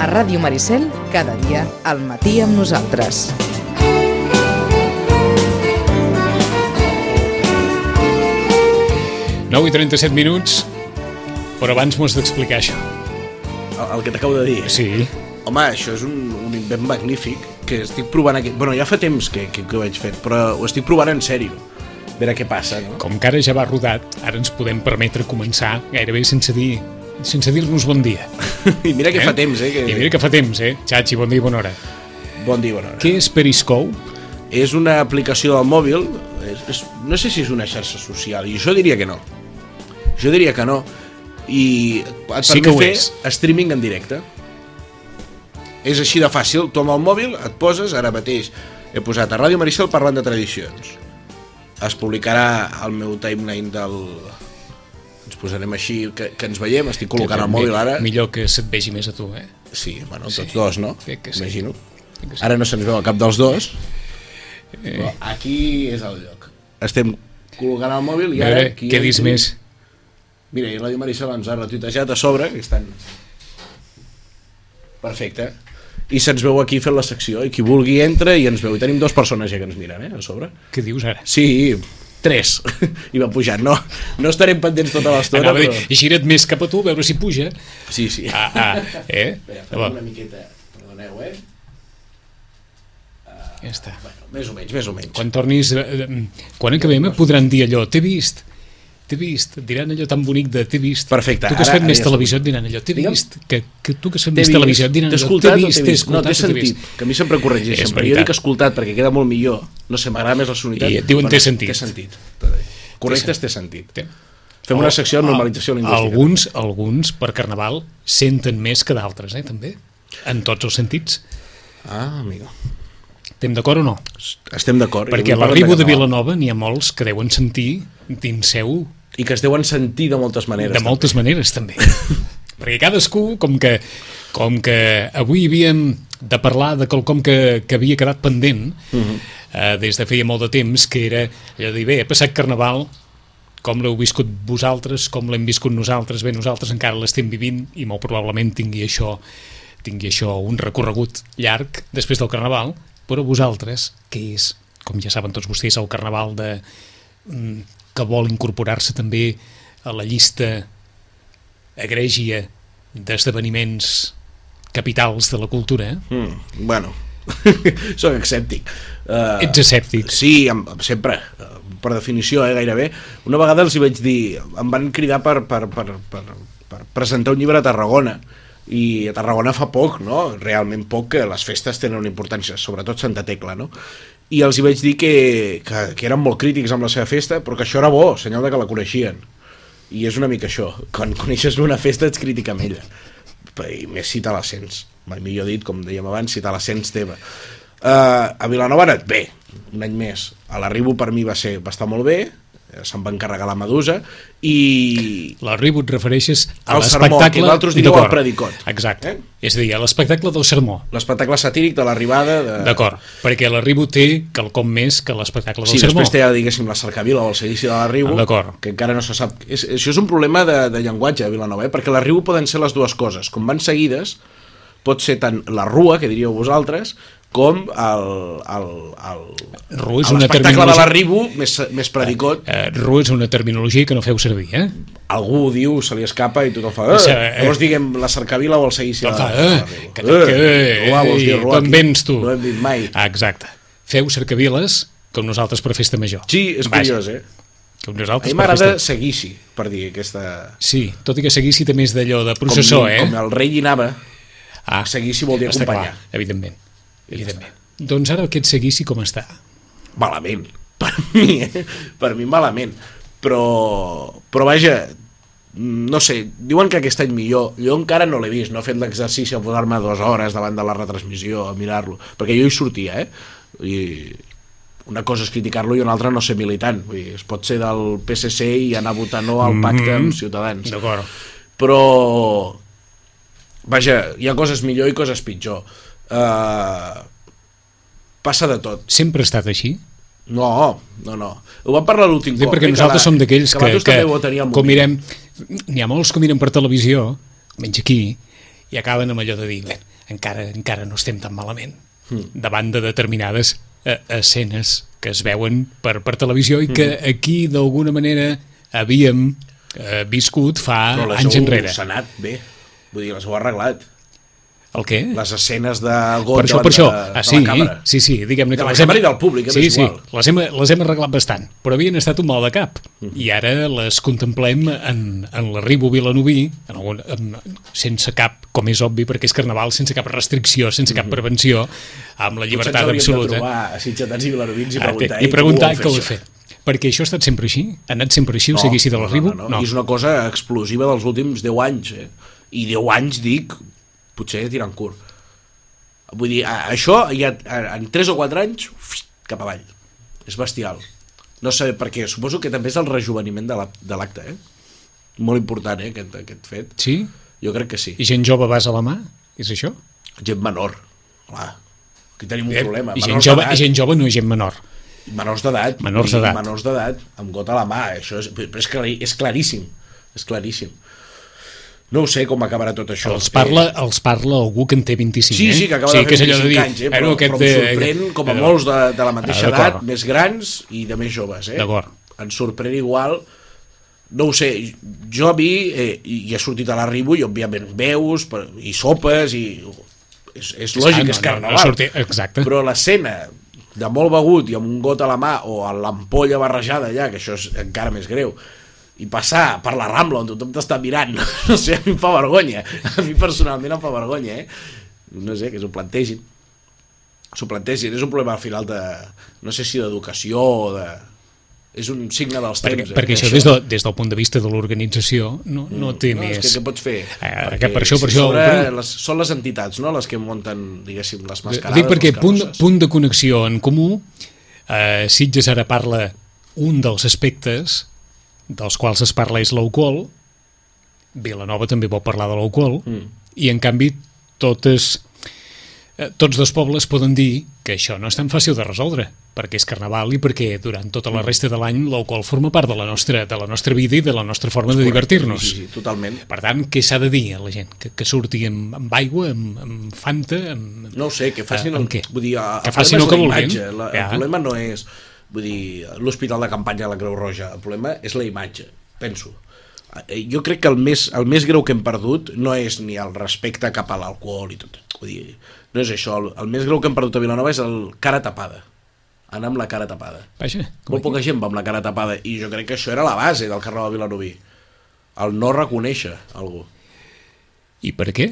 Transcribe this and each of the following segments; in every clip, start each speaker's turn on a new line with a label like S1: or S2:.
S1: A Ràdio Maricel, cada dia, al matí amb nosaltres.
S2: Ràdio. 9 i 37 minuts, però abans m'ho has d'explicar això.
S3: El, el que t'acabo de dir.
S2: Sí.
S3: Home, això és un, un invent magnífic que estic provant aquí. Bueno, ja fa temps que, que, que ho vaig fer, però ho estic provant en sèrio. A veure què passa, no?
S2: Com que ara ja va rodat, ara ens podem permetre començar gairebé sense dir sense dir-nos bon dia.
S3: I mira que
S2: eh?
S3: fa temps, eh? Que...
S2: I mira que fa temps, eh? Xachi, bon dia i bona hora.
S3: Bon dia, bona hora.
S2: Què és Periscope?
S3: És una aplicació al mòbil, és, és, no sé si és una xarxa social, i jo diria que no. Jo diria que no. I et permet
S2: Sí que ho
S3: fer
S2: és.
S3: streaming en directe. És així de fàcil. Tu amb el mòbil et poses, ara mateix he posat a Ràdio Maricel parlant de tradicions. Es publicarà al meu timeline del... Ens posarem així, que, que ens veiem, estic col·locant el mòbil ara.
S2: Millor que se't vegi més a tu, eh?
S3: Sí, bueno, tots dos, no?
S2: crec que sí.
S3: Imagino.
S2: Crec que sí. Eh.
S3: Ara no se'ns veu a cap dels dos. Però aquí és el lloc. Estem col·locant el mòbil i
S2: a
S3: ara...
S2: veure,
S3: aquí
S2: què
S3: entri-
S2: dius més?
S3: Mira, i Ràdio Maricel ens ha retuitejat a sobre, que estan... Perfecte. I se'ns veu aquí fent la secció, i qui vulgui entra i ens veu. I tenim dues persones ja que ens miren, eh, a sobre.
S2: Què dius ara?
S3: Sí, tres. I va pujant. No, no estarem pendents tota l'estona,
S2: Anava a dir,
S3: però...
S2: gira't més cap a tu, a veure si puja.
S3: Sí, sí.
S2: Ah, ah, eh?
S3: Espera, fem una
S2: Llavors,
S3: miqueta... Perdoneu, eh?
S2: ja està.
S3: Bueno, més o menys, més o menys.
S2: Quan tornis... eh, eh, Quan acabem et podran dir allò, t'he vist, t'he vist, et diran allò tan bonic de t'he vist.
S3: Perfecte,
S2: Tu que has
S3: ara-
S2: fet més
S3: ara ja
S2: televisió et diran allò, t'he
S3: Digue'm.
S2: vist. Que, que tu que has fet
S3: T'he
S2: més
S3: vist,
S2: televisió et diran
S3: t'he
S2: allò,
S3: escoltat o
S2: vist,
S3: t'he
S2: t'he
S3: vist? No,
S2: escoltat, o
S3: t'he
S2: t'he
S3: sentit,
S2: vist.
S3: que a mi sempre corregeixen,
S2: És
S3: però jo dic
S2: veritat.
S3: escoltat perquè queda molt millor. No sé, m'agrada més la sonoritat.
S2: I et diuen,
S3: Bueno,
S2: "T'he sentit".
S3: T'he sentit. Correctes, t'he sentit.
S2: Té.
S3: Fem una secció de normalització lingüística.
S2: Alguns, alguns per Carnaval senten més que d'altres, eh, també. En tots els sentits.
S3: Ah, amigo.
S2: Estem d'acord o no?
S3: Estem d'acord. I
S2: Perquè a
S3: avui
S2: l'arribo
S3: parlem
S2: de
S3: català.
S2: Vilanova n'hi ha molts que deuen sentir dins seu
S3: I que es deuen sentir de moltes maneres.
S2: De moltes maneres, també. Perquè cadascú, com que, com que avui havíem de parlar de quelcom que, que havia quedat pendent uh -huh. eh, des de feia molt de temps, que era allò de dir, bé, ha passat Carnaval, com l'heu viscut vosaltres, com l'hem viscut nosaltres, bé, nosaltres encara l'estem vivint i molt probablement tingui això, tingui això un recorregut llarg després del Carnaval, però vosaltres, que és, com ja saben tots vostès, el Carnaval de, mm, que vol incorporar-se també a la llista agrègia d'esdeveniments capitals de la cultura, eh?
S3: Mm, bueno, sóc escèptic. Uh,
S2: ets escèptic.
S3: Sí, amb, amb- sempre, eh, per definició, eh, gairebé. Una vegada els hi vaig dir, em van cridar per, per, per, per, per presentar un llibre a Tarragona, i a Tarragona fa poc, no? realment poc, que les festes tenen una importància, sobretot Santa Tecla, no? i els hi vaig dir que, que, que eren molt crítics amb la seva festa, però que això era bo, senyal de que la coneixien. I és una mica això, quan coneixes una festa ets crítica amb ella i més si te la sents mai millor dit, com dèiem abans, si te la sents teva uh, a Vilanova ha anat bé un any més, a l'arribo per mi va, ser, va estar molt bé eh, se'n va encarregar la Medusa i
S2: L'arribo et refereixes a
S3: Al sermó, que
S2: l'espectacle...
S3: vosaltres dieu
S2: D'acord.
S3: el predicot.
S2: Exacte.
S3: Eh?
S2: Eh? És a dir, a l'espectacle del sermó.
S3: l'espectacle satíric de l'arribada de...
S2: D'acord, perquè l'arribo té quelcom més que l'espectacle del
S3: Sí,
S2: sermó.
S3: després té, diguéssim, la cercavila o el seguici de l'arribo,
S2: Ah, d'acord.
S3: que encara no se sap. És, això és un problema de, de llenguatge a Vilanova, eh? perquè l'arribo poden ser les dues coses. Com van seguides, pot ser tant la rua, que diríeu vosaltres, com el... el, el
S2: Rua és
S3: a
S2: una
S3: l'espectacle de
S2: terminologia-
S3: l'arribo, més, més predicot,
S2: Eh, Ru és una terminologia que no feu servir, eh?
S3: algú ho diu, se li escapa i tothom fa... Eh,
S2: Sí,
S3: eh,
S2: eh.
S3: llavors diguem la cercavila o el seguici de
S2: Doncs,
S3: l'arribo.
S2: eh, que, que, eh,
S3: rua, vols dir
S2: eh,
S3: rua
S2: d'on
S3: aquí?
S2: vens tu?
S3: No ho hem dit mai.
S2: Ah, exacte. Feu cercaviles com nosaltres per festa major.
S3: Sí, és
S2: Vaja,
S3: curiós, eh?
S2: Com
S3: A mi
S2: nosaltres per festa...
S3: m'agrada seguici, per dir aquesta...
S2: Sí, tot i que seguici també és d'allò de
S3: Com,
S2: processó, eh?
S3: com el rei llinava,
S2: Ah,
S3: Seguici vol dir
S2: està
S3: acompanyar.
S2: Clar, evidentment. evidentment. Doncs ara aquest seguici com està?
S3: malament. Per mi, eh? per mi malament. Però, però vaja, no sé, diuen que aquest any millor jo encara no l'he vist, no he fet l'exercici a posar-me dues hores davant de la retransmissió a mirar-lo, perquè jo hi sortia eh? i una cosa és criticar-lo i una altra no ser militant Vull dir, es pot ser del PSC i anar a votar no al pacte
S2: Mhm.
S3: amb Ciutadans
S2: D'acord.
S3: però vaja, hi ha coses millor i coses pitjor uh, passa de tot
S2: Sempre ha estat així?
S3: no, no, no. Ho vam parlar l'últim
S2: Dic
S3: cop.
S2: perquè
S3: eh,
S2: nosaltres
S3: la-
S2: som d'aquells que,
S3: Latos
S2: que,
S3: també ho tenia molt
S2: com
S3: bé.
S2: mirem, n'hi ha molts que miren per televisió, menys aquí, i acaben amb allò de dir, bé, encara, encara no estem tan malament,
S3: Hmm.
S2: davant de determinades eh, escenes que es veuen per, per televisió i que
S3: Hmm.
S2: aquí d'alguna manera havíem eh, viscut fa
S3: Però les
S2: anys
S3: heu-
S2: enrere.
S3: s'ha anat bé. Vull dir, les heu arreglat.
S2: El què?
S3: Les escenes de got
S2: Per això,
S3: davant
S2: per això.
S3: de,
S2: Ah,
S3: de la
S2: sí,
S3: càmera.
S2: sí, sí, diguem-ne
S3: De
S2: que
S3: la
S2: les hem-
S3: càmera i del públic, eh,
S2: sí,
S3: m'és
S2: sí,
S3: igual.
S2: les hem, les hem arreglat bastant, però havien estat un mal de cap.
S3: Mhm.
S2: I ara les contemplem en, en l'arribo a Vilanoví, en algun, en, sense cap, com és obvi, perquè és carnaval, sense cap restricció, sense cap prevenció, amb la
S3: Mhm. Potser ens
S2: llibertat
S3: hauríem
S2: absoluta.
S3: de trobar a Sitgetans i Vilarovins i
S2: Ah,
S3: preguntar,
S2: I preguntar què ho he
S3: heu
S2: fet. Perquè això ha estat sempre així? Ha anat sempre així? No, o sigui, si de l'arribo?
S3: No, no, no. I és una cosa explosiva dels últims 10 anys. Eh? I 10 anys, dic, potser tirant curt. Vull dir, a- això ja, a- en 3 o 4 anys, uf, cap avall. És bestial. No sé per què. Suposo que també és el rejuveniment de la- de l'acte, eh? Molt important, eh, aquest, aquest fet.
S2: Sí?
S3: Jo crec que sí.
S2: I gent jove vas a la mà? És això?
S3: Gent menor, clar. Aquí tenim un
S2: Eh,
S3: problema.
S2: I gent
S3: Menors
S2: jove,
S3: d'edat.
S2: i gent jove no és gent menor.
S3: Menors d'edat.
S2: Menors
S3: I
S2: d'edat.
S3: Menors d'edat, amb got a la mà. Això és, però és, clar, és claríssim. És claríssim. No ho sé com acabarà tot això.
S2: Els parla, els parla algú que en té 25,
S3: Sí,
S2: eh?
S3: sí, que acaba
S2: O sigui,
S3: de fer
S2: és allò
S3: 25
S2: dir,
S3: anys, eh?
S2: "Ah,
S3: però,
S2: no, aquest
S3: però em sorprèn
S2: eh,
S3: com a
S2: eh,
S3: molts de, de la mateixa
S2: Ah,
S3: edat,
S2: d'acord.
S3: més grans i de més joves. Eh?
S2: D'acord.
S3: Ens sorprèn igual no ho sé, jo vi eh, i i he sortit a la Ribu i òbviament veus però, i sopes i és, és lògic,
S2: Ah, no,
S3: és
S2: no, no
S3: carnaval
S2: sortia- exacte.
S3: però l'escena de molt begut i amb un got a la mà o amb l'ampolla barrejada allà, que això és encara més greu i passar per la Rambla on tothom t'està mirant no, no sé, a mi em fa vergonya a mi personalment em fa vergonya eh? no sé, que s'ho plantegin s'ho plantegin, és un problema al final de, no sé si d'educació o de... és un signe dels
S2: Perquè,
S3: temps eh,
S2: perquè això, des, de, des del punt de vista de l'organització no, no té
S3: no,
S2: més...
S3: és que què pots fer?
S2: Eh, que per això, per
S3: si
S2: això...
S3: sobre
S2: Sobre...
S3: les, són les entitats, no?, les que munten, diguéssim, les mascarades.
S2: Dic perquè
S3: les
S2: punt,
S3: carrosses.
S2: punt de connexió en comú, eh, Sitges ara parla un dels aspectes dels quals es parla és l'alcohol, Vilanova també vol parlar de l'alcohol, mm. i en canvi totes, eh, tots dos pobles poden dir que això no és tan fàcil de resoldre, perquè és carnaval i perquè durant tota
S3: Mm.
S2: la resta de l'any l'alcohol forma part de la, nostra, de la nostra vida i de la nostra forma de divertir-nos.
S3: Sí, sí, totalment.
S2: Per tant, què s'ha de dir a la gent? Que, que surti amb, amb aigua, amb, amb Fanta, amb...
S3: No ho sé, que facin...
S2: Eh,
S3: el,
S2: amb què?
S3: Vull dir, el
S2: Que
S3: problema
S2: facin
S3: és
S2: el que
S3: la
S2: vulguin.
S3: imatge, La,
S2: Ja.
S3: El problema no és vull dir, l'hospital de campanya de la Creu Roja, el problema és la imatge, penso. Eh, Jo crec que el més, el més greu que hem perdut no és ni el respecte cap a l'alcohol i tot. Vull dir, no és això. El, el més greu que hem perdut a Vilanova és el cara tapada. Anar amb la cara tapada.
S2: Vaja, com
S3: Molt
S2: aquí.
S3: poca gent va amb la cara tapada i jo crec que això era la base del carnaval de Vilanoví el no reconèixer algú
S2: I per què?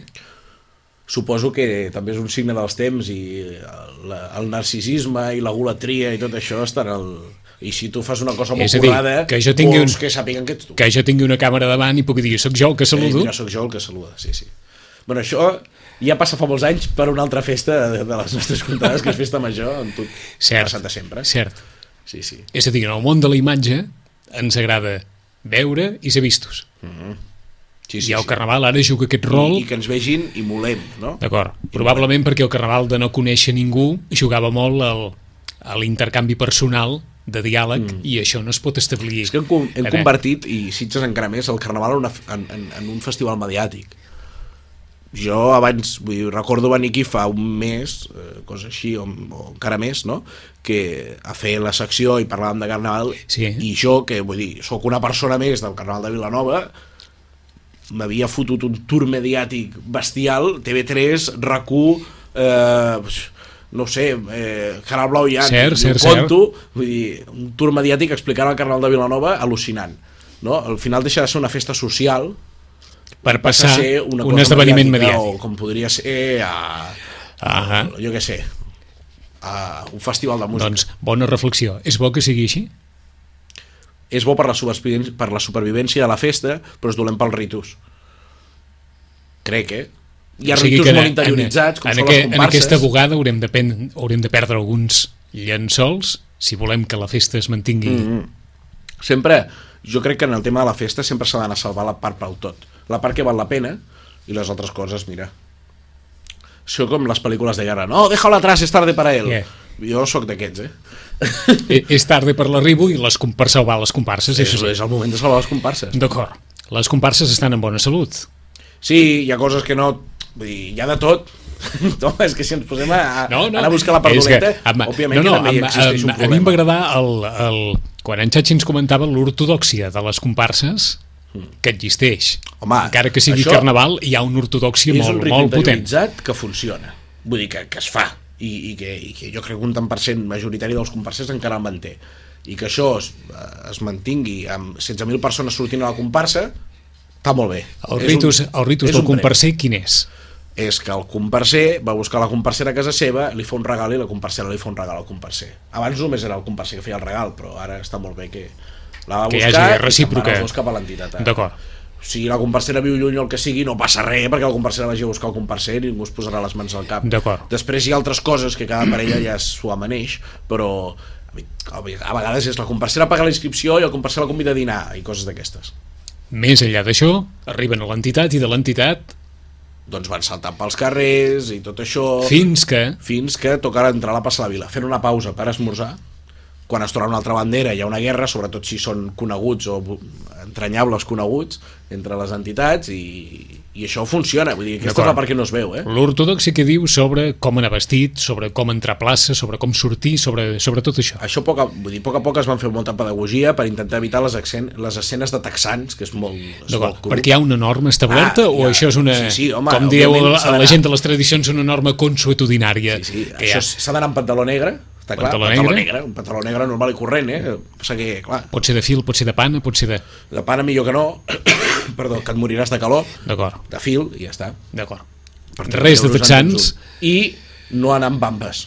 S3: suposo que també és un signe dels temps i el, el narcisisme i la golatria i tot això estan al... i si tu fas una cosa molt
S2: És a dir,
S3: currada
S2: que jo tingui
S3: vols
S2: un-
S3: que sàpiguen que ets tu
S2: Que jo tingui una càmera davant i puc dir, soc jo el que
S3: Eh,
S2: saludo?
S3: mira, sóc jo el que saluda, sí, sí. Bueno, això ja passa fa molts anys per una altra festa de, de les nostres contades, que és festa major, on tot ha
S2: cert,
S3: passat de sempre.
S2: cert.
S3: Sí, sí.
S2: És a dir, en el món de la imatge ens agrada veure i ser vistos.
S3: sí,
S2: I
S3: sí,
S2: el
S3: sí.
S2: carnaval ara juga aquest rol...
S3: I, I que ens vegin i molem, no?
S2: D'acord. Probablement perquè el carnaval de no conèixer ningú jugava molt al, a l'intercanvi personal de diàleg mm. i això no es pot establir.
S3: És que hem, com- hem
S2: Ara,
S3: convertit, i Sitges encara més, el Carnaval en, una, f- en, en, en un festival mediàtic. Jo abans, vull dir, recordo venir aquí fa un mes, eh, cosa així, o, o encara més, no?, que a fer la secció i parlàvem de Carnaval,
S2: Sí.
S3: i jo, que vull dir, sóc una persona més del Carnaval de Vilanova, m'havia fotut un tour mediàtic bestial, TV3, RAC1, eh, no ho sé, eh, Canal Blau ja,
S2: Cert,
S3: ni ho
S2: cert, cert.
S3: conto, vull dir, un tour mediàtic explicant el Carnaval de Vilanova al·lucinant. No? Al final deixa de ser una festa social
S2: Per
S3: passa
S2: passar
S3: a ser una
S2: un
S3: cosa
S2: esdeveniment
S3: o
S2: mediàtic.
S3: com podria ser a,
S2: Ah,
S3: jo què sé a un festival de música
S2: doncs, bona reflexió. És bo que sigui així?
S3: és bo per la, supervivència- per la supervivència de la festa, però és dolent pels ritus. Crec, eh? Hi ha
S2: O sigui
S3: ritus
S2: que
S3: molt interioritzats, com
S2: en,
S3: són
S2: aqu-
S3: les
S2: En
S3: comparses.
S2: aquesta bugada haurem de, pen, haurem de perdre alguns llençols si volem que la festa es mantingui. Mm -hmm.
S3: sempre, jo crec que en el tema de la festa sempre s'ha d'anar a salvar la part pel tot. La part que val la pena i les altres coses, mira. Això com les pel·lícules de guerra. No, déjalo atrás, es tarde para él.
S2: Yeah.
S3: Yeah. Jo sóc d'aquests, eh?
S2: e- És tarda per l'arribo i les com- per salvar les comparses,
S3: És,
S2: això sí.
S3: és el moment de salvar les comparses.
S2: D'acord. Les comparses estan en bona salut.
S3: Sí, hi ha coses que no... Vull dir, hi ha de tot. No, és que si ens posem a,
S2: No, no,
S3: a anar a buscar la part
S2: és que,
S3: dolenta,
S2: amb-
S3: òbviament que també hi
S2: amb-
S3: existeix
S2: amb-
S3: un
S2: A mi em va
S3: problema.
S2: agradar el, el, quan en Xachi ens comentava l'ortodòxia de les comparses que existeix.
S3: Mm. Home,
S2: Encara que sigui
S3: això-
S2: carnaval, hi ha una ortodòxia
S3: és un
S2: molt,
S3: ritme
S2: molt potent.
S3: interioritzat que funciona. Vull dir que, que es fa i, i, que, i que jo crec que un tant per cent majoritari dels comparsers encara el manté. I que això es, eh, es mantingui amb 16.000 persones sortint a la comparsa, està molt bé.
S2: Els
S3: És
S2: ritus,
S3: un-
S2: els ritus
S3: és
S2: del
S3: un premi.
S2: comparser, quin és?
S3: És que el comparser va buscar la comparsera a casa seva, li fa un regal i la comparsera li fa un regal al comparser. Abans només era el comparser que feia el regal, però ara està molt bé que la va
S2: Que hi
S3: buscar
S2: hagi
S3: i se'n van
S2: recíproca.
S3: els dos cap a l'entitat. eh?
S2: D'acord.
S3: si la comparsera viu lluny o el que sigui, no passa res, perquè la comparsera vagi a buscar el comparser i ningú es posarà les mans al cap.
S2: D'acord.
S3: Després hi ha altres coses que cada parella ja s'ho amaneix, però a mi- a vegades és la comparsera paga la inscripció i el comparser la convida a dinar i coses d'aquestes.
S2: Més enllà d'això, arriben a l'entitat i de l'entitat
S3: Doncs van saltant pels carrers i tot això...
S2: fins que...
S3: fins que tocarà entrar a la Passa de la Vila, fent una pausa per esmorzar. Quan es torna una altra bandera hi ha una guerra, sobretot si són coneguts o bu- entranyables coneguts entre les entitats i, i això funciona. Vull dir, aquesta és
S2: D'acord.
S3: la
S2: Mm.
S3: part que no es veu, eh?
S2: L'ortodoxia que diu sobre com anar vestit, sobre com entrar a plaça, sobre com sortir, sobre, sobre tot això.
S3: Això poc a, vull dir, a poc a poc es van fer molta pedagogia per intentar evitar les, accent, les escenes de texans, que és molt, és molt
S2: D'acord,
S3: cru.
S2: perquè hi ha una norma establerta
S3: Ah,
S2: o
S3: ja.
S2: això és una,
S3: Sí, sí, home,
S2: com dieu
S3: òbviament
S2: la,
S3: s'ha
S2: la
S3: d'anar.
S2: gent de les tradicions, una norma consuetudinària.
S3: Sí, sí,
S2: que hi
S3: això
S2: ha.
S3: s'ha d'anar amb pantaló negre, està clar,
S2: Pantaló
S3: pantaló, pantaló
S2: negre.
S3: negre. un pantaló negre normal i corrent, eh? El que Passa que, clar,
S2: Pot ser de fil, pot ser de pana, pot ser de...
S3: de pana millor que no, perdó, que et moriràs de calor,
S2: D'acord,
S3: de fil, i ja està.
S2: d'acord.
S3: Per tant,
S2: Res de
S3: euros en
S2: texans.
S3: conjunt. I no anar amb bambes.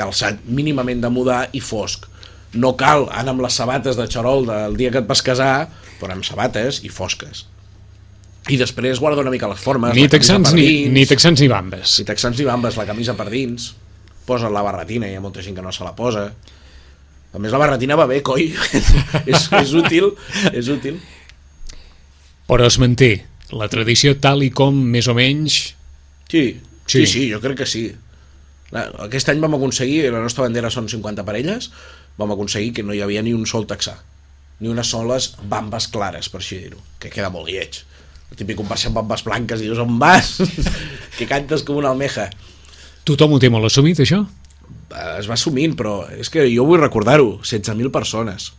S3: Calçat mínimament de mudar i fosc. No cal anar amb les sabates de xarol del dia que et vas casar, però amb sabates i fosques. I després guarda una mica les formes.
S2: Ni
S3: la camisa
S2: texans
S3: per
S2: ni,
S3: dins,
S2: ni texans ni bambes.
S3: ni texans ni bambes, la camisa per dins. Posen la barretina, hi ha molta gent que no se la posa. A més, la barretina va bé, coi. és, és útil, és útil.
S2: Però es manté la tradició tal i com més o menys...
S3: Sí,
S2: Sí.
S3: sí, sí, sí jo crec que sí. Clar, Aquest any vam aconseguir, la nostra bandera són 50 parelles, vam aconseguir que no hi havia ni un sol texà, ni unes soles bambes clares, per així dir-ho, que queda molt lleig. El típic conversa amb bambes blanques i dius, on vas? que cantes com una almeja.
S2: Tothom ho té molt assumit, això?
S3: Eh, Es va assumint, però és que jo vull recordar-ho, 16.000 persones,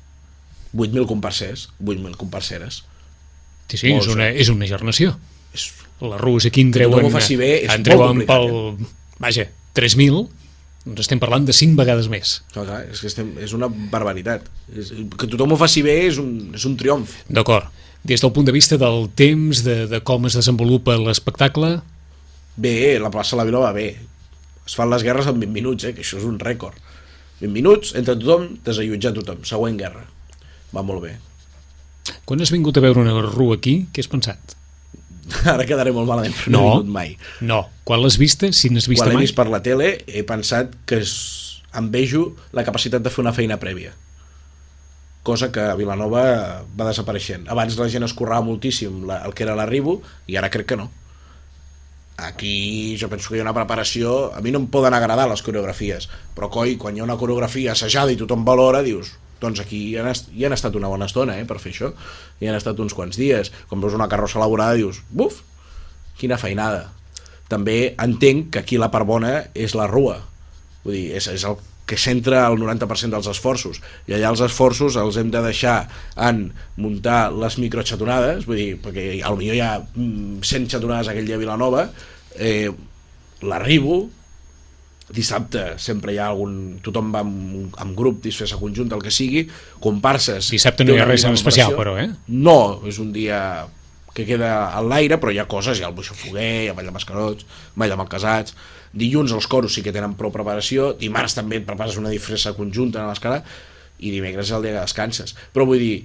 S3: 8.000 comparsers, 8.000 comparseres.
S2: Sí, sí, és
S3: Molt
S2: una, és una gernació.
S3: És,
S2: La rus aquí en
S3: Que tothom
S2: treuen,
S3: ho eh? faci bé és
S2: en
S3: molt
S2: treuen
S3: complicat, eh?
S2: pel... Vaja, 3.000, doncs estem parlant de 5 vegades més.
S3: clar, clar, és que estem, és una barbaritat. És, que tothom ho faci bé és un, és un triomf.
S2: D'acord. Des del punt de vista del temps, de, de com es desenvolupa l'espectacle,
S3: Bé, la plaça de la Vila va bé. Es fan les guerres en 20 minuts, eh, que això és un rècord. 20 minuts, entre tothom, desallotjar tothom. Següent guerra. Va molt bé.
S2: quan has vingut a veure una rua aquí, què has pensat?
S3: Ara quedaré molt malament, però no, no he vingut mai.
S2: No. Quan l'has vista, si n'has vist
S3: Quan l'he
S2: mai?
S3: vist per la tele, he pensat que es... em vejo la capacitat de fer una feina prèvia. Cosa que a Vilanova va desapareixent. Abans la gent es currava moltíssim la, el que era l'arribo, i ara crec que no. Aquí jo penso que hi ha una preparació... A mi no em poden agradar les coreografies, però coi, quan hi ha una coreografia assajada i tothom valora, dius doncs aquí hi han, est- hi han estat una bona estona eh, per fer això, hi han estat uns quants dies quan veus una carrossa elaborada dius buf, quina feinada també entenc que aquí la part bona és la rua vull dir, és, és el que centra el 90% dels esforços i allà els esforços els hem de deixar en muntar les microxatonades vull dir, perquè potser hi ha mm, 100 xatonades aquell dia a Vilanova eh, l'arribo dissabte sempre hi ha algun... tothom va amb, amb grup, disfressa conjunta, el que sigui, comparses...
S2: Dissabte no
S3: Té
S2: hi ha
S3: una
S2: res en
S3: mínima
S2: especial,
S3: preparació.
S2: però, eh?
S3: No, és un dia que queda a l'aire, però hi ha coses, hi ha el buixafoguer, hi ha ball de mascarots, ball de malcasats, dilluns els coros sí que tenen prou preparació, dimarts també et prepares una disfressa conjunta en l'escala, i dimecres és el dia que descanses. Però vull dir,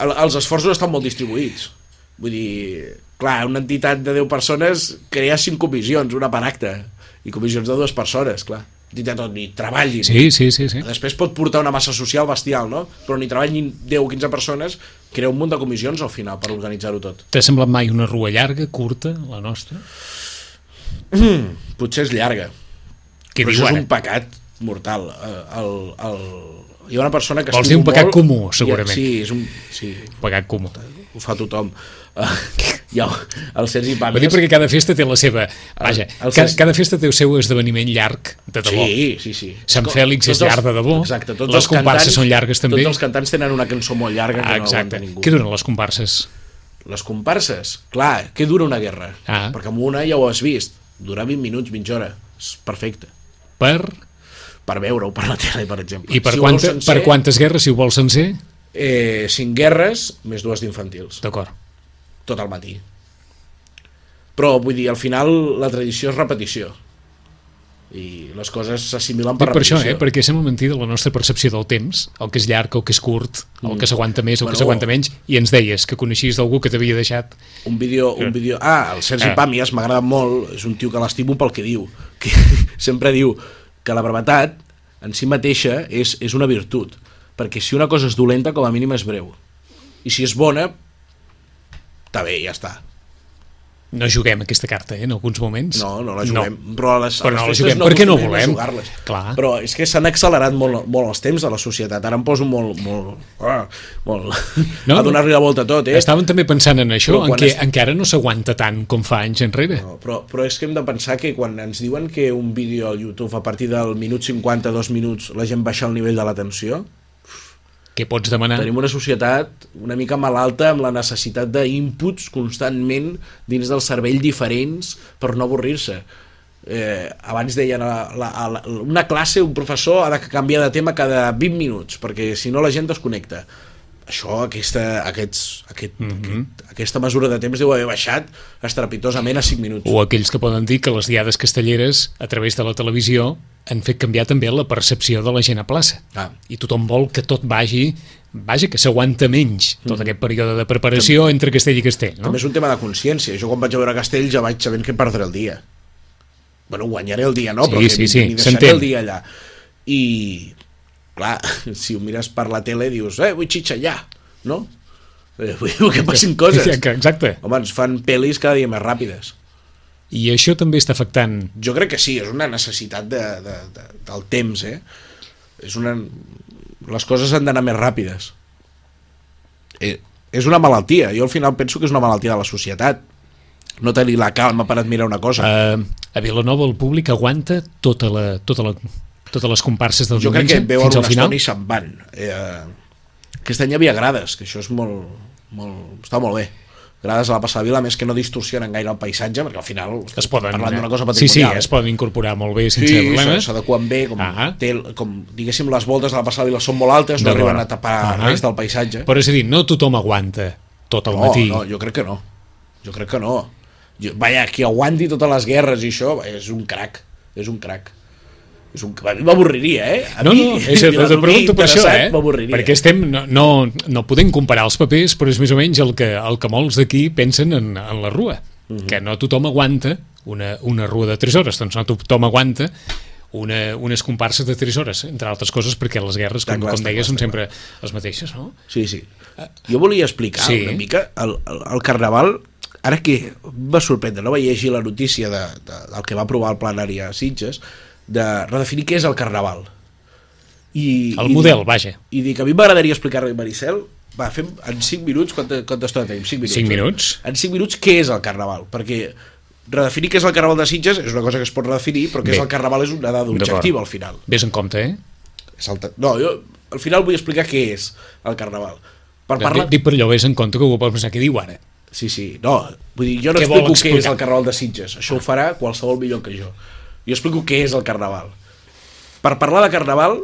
S3: el, els esforços estan molt distribuïts. Vull dir, clar, una entitat de 10 persones crea 5 comissions, una per acte, i comissions de dues persones, clar. Entitat on hi treballin.
S2: Sí, sí, sí. sí.
S3: Després pot portar una massa social bestial, no? Però on hi treballin 10 o 15 persones, crea un munt de comissions al final per organitzar-ho tot.
S2: T'ha semblat mai una rua llarga, curta, la nostra? Mm.
S3: Potser és llarga,
S2: Què
S3: però
S2: diu
S3: això
S2: ara?
S3: és un pecat mortal. Eh, El, el, hi ha una persona que
S2: Vols dir
S3: estimo
S2: un pecat
S3: molt,
S2: comú,
S3: i-
S2: segurament.
S3: Sí, és un, sí,
S2: Pagat comú.
S3: ho fa tothom. Uh, hi ha el Sergi
S2: Va dir
S3: Pàmies.
S2: perquè cada festa té la seva... Vaja,
S3: el
S2: cada,
S3: Sergi-
S2: cada festa té el seu esdeveniment llarg, de debò.
S3: Sí, sí, sí.
S2: Sant
S3: Co-
S2: Fèlix
S3: tots
S2: és llarg de debò.
S3: Exacte, tots
S2: Les
S3: els
S2: comparses
S3: cantants-
S2: són llargues, també.
S3: Tots els cantants tenen una cançó molt llarga que
S2: Ah,
S3: no aguanta
S2: exacte.
S3: ningú.
S2: Què donen les comparses?
S3: Les comparses, clar, què dura una guerra?
S2: Ah.
S3: Perquè amb una ja ho has vist, dura 20 minuts, mitja hora, és perfecte.
S2: Per...
S3: Per veure-ho per la tele, per exemple.
S2: I per,
S3: ho
S2: quanta,
S3: vols sencer,
S2: per quantes guerres, si ho vols sencer?
S3: Eh, cinc guerres, més dues d'infantils.
S2: D'acord.
S3: tot al matí. Però, vull dir, al final la tradició és repetició. I les coses s'assimilen per
S2: Dic per
S3: repetició.
S2: això, eh? perquè sembla mentida la nostra percepció del temps, el que és llarg, el que és curt, el que s'aguanta més, el
S3: Mm. Bueno.
S2: que s'aguanta menys, i ens deies que coneixies d'algú que t'havia deixat.
S3: Un vídeo...
S2: Eh.
S3: Un vídeo... Ah, el Sergi
S2: Ah.
S3: Pàmies m'agrada molt, és un tio que l'estimo pel que diu. Que sempre diu que la brevetat en si mateixa és, és una virtut, perquè si una cosa és dolenta, com a mínim és breu. I si és bona, està bé, ja està.
S2: No juguem aquesta carta, eh, en alguns moments.
S3: No, no la juguem. No. Però a les,
S2: Però no
S3: a
S2: la
S3: les festes
S2: juguem. Per què no
S3: acostumem a
S2: volem?
S3: jugar-les.
S2: Clar.
S3: Però és que s'han accelerat molt, molt els temps de la societat. Ara em poso molt... molt, ah, molt
S2: No,
S3: a donar-li la volta a tot, eh?
S2: Estaven també pensant en això,
S3: Però
S2: en
S3: quan
S2: què
S3: es-
S2: encara no s'aguanta tant com fa anys enrere.
S3: No, però, però és que hem de pensar que quan ens diuen que un vídeo al YouTube a partir del minut 50, dos minuts, la gent baixa el nivell de l'atenció,
S2: Què pots demanar?
S3: tenim una societat una mica malalta amb la necessitat d'inputs constantment dins del cervell diferents per no avorrir-se. Eh, abans deien la, la, la, una classe, un professor ha de canviar de tema cada 20 minuts perquè si no la gent desconnecta això, aquesta, aquests, aquest, mm -hmm. aquest, aquesta mesura de temps deu haver baixat estrepitosament a 5 minuts
S2: O aquells que poden dir que les diades castelleres, a través de la televisió, han fet canviar també la percepció de la gent a plaça.
S3: Ah.
S2: I tothom vol que tot vagi, vaja, que s'aguanta menys tot aquest període de preparació entre castell i castell, no?
S3: Mm. També és un tema de consciència. Jo quan vaig a veure Castell ja vaig sabent que perdré el dia. Bueno, guanyaré el dia, no?
S2: Sí,
S3: Però que
S2: sí,
S3: m'hi-
S2: sí,
S3: m'hi deixaré
S2: s'entén.
S3: el dia allà. I, clar, si ho mires per la tele dius, eh, vull xitxallar, no? Eh, Vull que passin coses.
S2: Sí, Exacte.
S3: Home, ens fan pel·lis cada dia més ràpides.
S2: I això també està afectant...
S3: Jo crec que sí, és una necessitat de, de, de, del temps, eh? És una... Les coses han d'anar més ràpides. Eh, és una malaltia. Jo al final penso que és una malaltia de la societat. No tenir la calma per admirar una cosa.
S2: Uh, a Vilanova el públic aguanta tota la, tota la, totes les comparses del
S3: jo crec que
S2: diumenge
S3: et veuen
S2: fins
S3: una
S2: al final.
S3: estona i se'n van. Eh, aquest any hi havia grades, que això és molt... molt està molt bé. Grades a la Passavila, a més que no distorsionen gaire el paisatge, perquè al final
S2: Es poden,
S3: parlant d'una cosa
S2: sí, sí,
S3: patrimonial. eh?
S2: es poden incorporar molt bé sense
S3: sí,
S2: problemes.
S3: s'ha- s'adequen bé, com,
S2: Ah.
S3: té, el- com diguéssim les voltes de la passada vila són molt altes, no
S2: D'acord.
S3: arriben a tapar
S2: Ah.
S3: res del paisatge.
S2: Però és a dir, no tothom aguanta tot el
S3: no,
S2: matí.
S3: no, jo crec que no. Jo crec que no. Jo, vaja, qui aguanti totes les guerres i això, vaja, és un crac, és un crac. És un... A mi m'avorriria, eh? A
S2: No,
S3: mi,
S2: no, és,
S3: Viladoví,
S2: t'ho pregunto per això,
S3: interessat,
S2: eh?
S3: M'avorriria.
S2: Perquè estem, no, no, no podem comparar els papers, però és més o menys el que, el que molts d'aquí pensen en, en la rua,
S3: Mhm.
S2: que no tothom aguanta una, una rua de 3 hores, doncs no tothom aguanta una, unes comparses de 3 hores, entre altres coses perquè les guerres, com,
S3: clar,
S2: com
S3: està
S2: deies,
S3: clar,
S2: són
S3: està
S2: sempre les mateixes, no?
S3: Sí, sí. Jo volia explicar
S2: Sí.
S3: sí. una mica el, el, el carnaval ara que em va sorprendre, no vaig llegir la notícia de, de, del que va aprovar el plenari a Sitges de redefinir què és el carnaval I,
S2: El
S3: i
S2: model,
S3: dic-
S2: vaja.
S3: i dic, a mi m'agradaria explicar-li a Maricel va, fem en 5 minuts quanta, quanta estona tenim? 5 minuts,
S2: Cinc
S3: eh?
S2: minuts.
S3: en 5 minuts què és el carnaval perquè redefinir què és el carnaval de Sitges és una cosa que es pot redefinir però què
S2: Bé.
S3: és el carnaval és una dada objectiva al final
S2: Ves en compte, eh?
S3: Salta... No, jo al final vull explicar què és el carnaval. Per
S2: Parla...
S3: parlar...
S2: Dic per allò, ves en compte que ho pots pensar, què diu ara?
S3: Sí, sí, no, vull dir, jo no
S2: Què vol
S3: explico què és
S2: explicar?
S3: el carnaval de Sitges, això ho farà qualsevol millor que jo. Jo explico què és el carnaval. Per parlar de carnaval,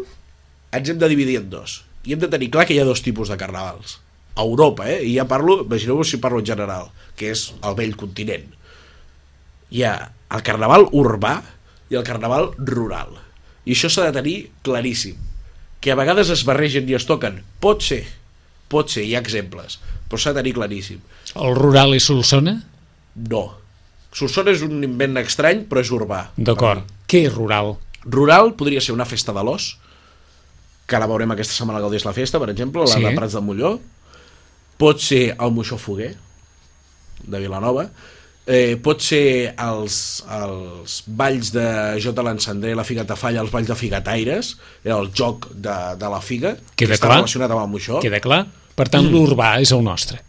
S3: ens hem de dividir en dos. I hem de tenir clar que hi ha dos tipus de carnavals. A Europa, eh? I ja parlo, imagineu-vos si parlo en general, que és el vell continent. Hi ha el carnaval urbà i el carnaval rural. I això s'ha de tenir claríssim. Que a vegades es barregen i es toquen. Pot ser. Pot ser, hi ha exemples, però s'ha de tenir claríssim.
S2: El rural és Solsona?
S3: No. Solsona és un invent estrany, però és urbà.
S2: D'acord. Què és rural?
S3: Oh. Rural podria ser una festa de l'os, que la veurem aquesta setmana al Gaudés la Festa, per exemple, la
S2: Sí.
S3: sí. de Prats de Molló. Pot ser el Moixó Foguer, de Vilanova. Eh, pot ser els, els balls de Jota l'Encendré, la Figa Tafalla, els balls de Figataires, era el joc de, de la Figa,
S2: Queda
S3: que està
S2: clar.
S3: relacionat amb el Moixó.
S2: Queda clar? Per
S3: Mm.
S2: tant, l'urbà és el nostre.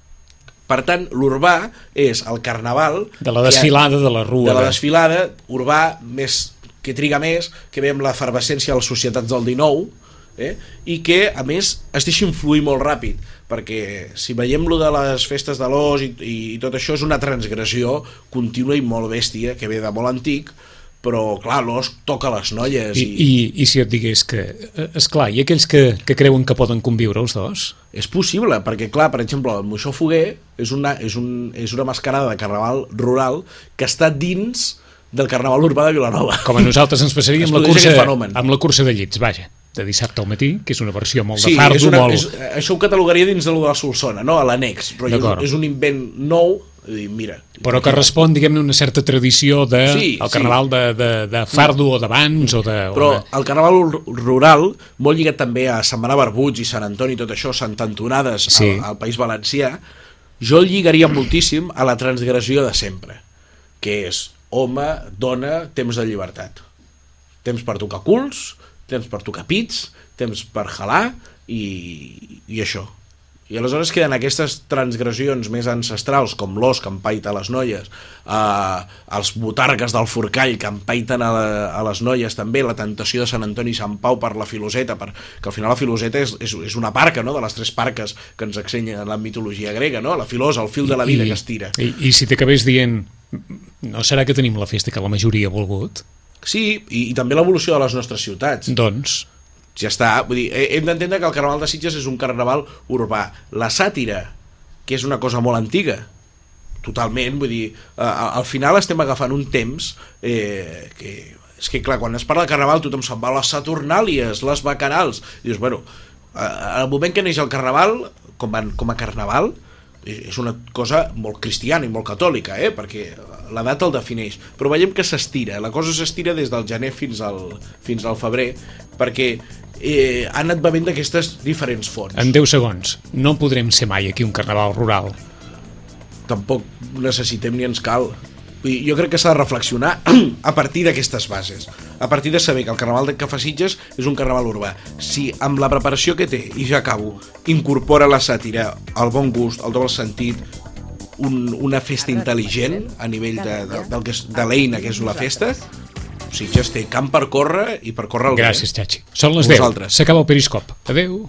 S3: Per tant, l'urbà és el carnaval...
S2: De la
S3: que-
S2: desfilada de la rua. eh?
S3: de la
S2: de-
S3: desfilada urbà més que triga més, que ve amb l'efervescència de les societats del 19 eh? i que a més es deixa influir molt ràpid perquè si veiem lo de les festes de l'os i, i, tot això és una transgressió contínua i molt bèstia que ve de molt antic però clar, l'os toca les noies
S2: I,
S3: i,
S2: i, I si et digués que... eh, És clar, i aquells que, que creuen que poden conviure els dos?
S3: És possible, perquè clar, per exemple, el Moixó Foguer és una, és, un, és una mascarada de carnaval rural que està dins del carnaval urbà de Vilanova.
S2: Com a nosaltres ens passaria
S3: Es
S2: amb la,
S3: produeix
S2: cursa,
S3: aquest fenomen.
S2: amb la cursa de llits, vaja, de dissabte al matí, que és una versió molt
S3: Sí,
S2: de fardo,
S3: és una,
S2: molt...
S3: és, això ho catalogaria dins de lo de la Solsona, no? a l'annex. Rotllo,
S2: D'acord.
S3: És un invent nou, i dir, mira,
S2: però que respon, diguem-ne, a una certa tradició de,
S3: Sí,
S2: el
S3: sí.
S2: carnaval de, de, de fardo o d'abans o de...
S3: però
S2: o de...
S3: el carnaval ur- rural, molt lligat també a Setmana Barbuts i Sant Antoni, tot això, Santantonades
S2: Sí.
S3: al, al País Valencià, jo el lligaria moltíssim a la transgressió de sempre, que és home, dona, temps de llibertat. Temps per tocar culs, temps per tocar pits, temps per jalar i, i això. I aleshores queden aquestes transgressions més ancestrals, com l'os que empaita les noies, eh, els botargues del forcall que empaiten a, la, a les noies també, la tentació de Sant Antoni i Sant Pau per la filoseta, per, que al final la filoseta és, és, és una parca, no?, de les tres parques que ens ensenya la mitologia grega, no?, la filosa, el fil de la vida que es tira.
S2: I, i si t'acabés dient no serà que tenim la festa que la majoria ha volgut?
S3: Sí, i, i també l'evolució de les nostres ciutats.
S2: Doncs,
S3: ja està, vull dir, he- hem d'entendre que el Carnaval de Sitges és un carnaval urbà. La sàtira, que és una cosa molt antiga, totalment, vull dir, eh, al al final estem agafant un temps eh, que... És que, clar, quan es parla de carnaval tothom se'n va a les Saturnàlies, les Bacanals... I dius, bueno, eh, al moment que neix el carnaval, com a, com a carnaval, eh, és una cosa molt cristiana i molt catòlica, eh? perquè l'edat el defineix. Però veiem que s'estira, la cosa s'estira des del gener fins al, fins al febrer, perquè eh, ha anat bevent d'aquestes diferents fonts.
S2: en 10 segons, no podrem ser mai aquí un carnaval rural.
S3: tampoc necessitem ni ens cal. Vull dir, jo crec que s'ha de reflexionar a partir d'aquestes bases, a partir de saber que el carnaval de Cafasitges és un carnaval urbà. Si amb la preparació que té, i ja acabo, incorpora la sàtira, el bon gust, el doble sentit, un, una festa intel·ligent a nivell de, de, del que és, de l'eina que és la festa, Sitges té camp per córrer i per córrer el bé.
S2: Gràcies, Txachi. Són les 10.
S3: Vosaltres.
S2: S'acaba el periscop. Adeu.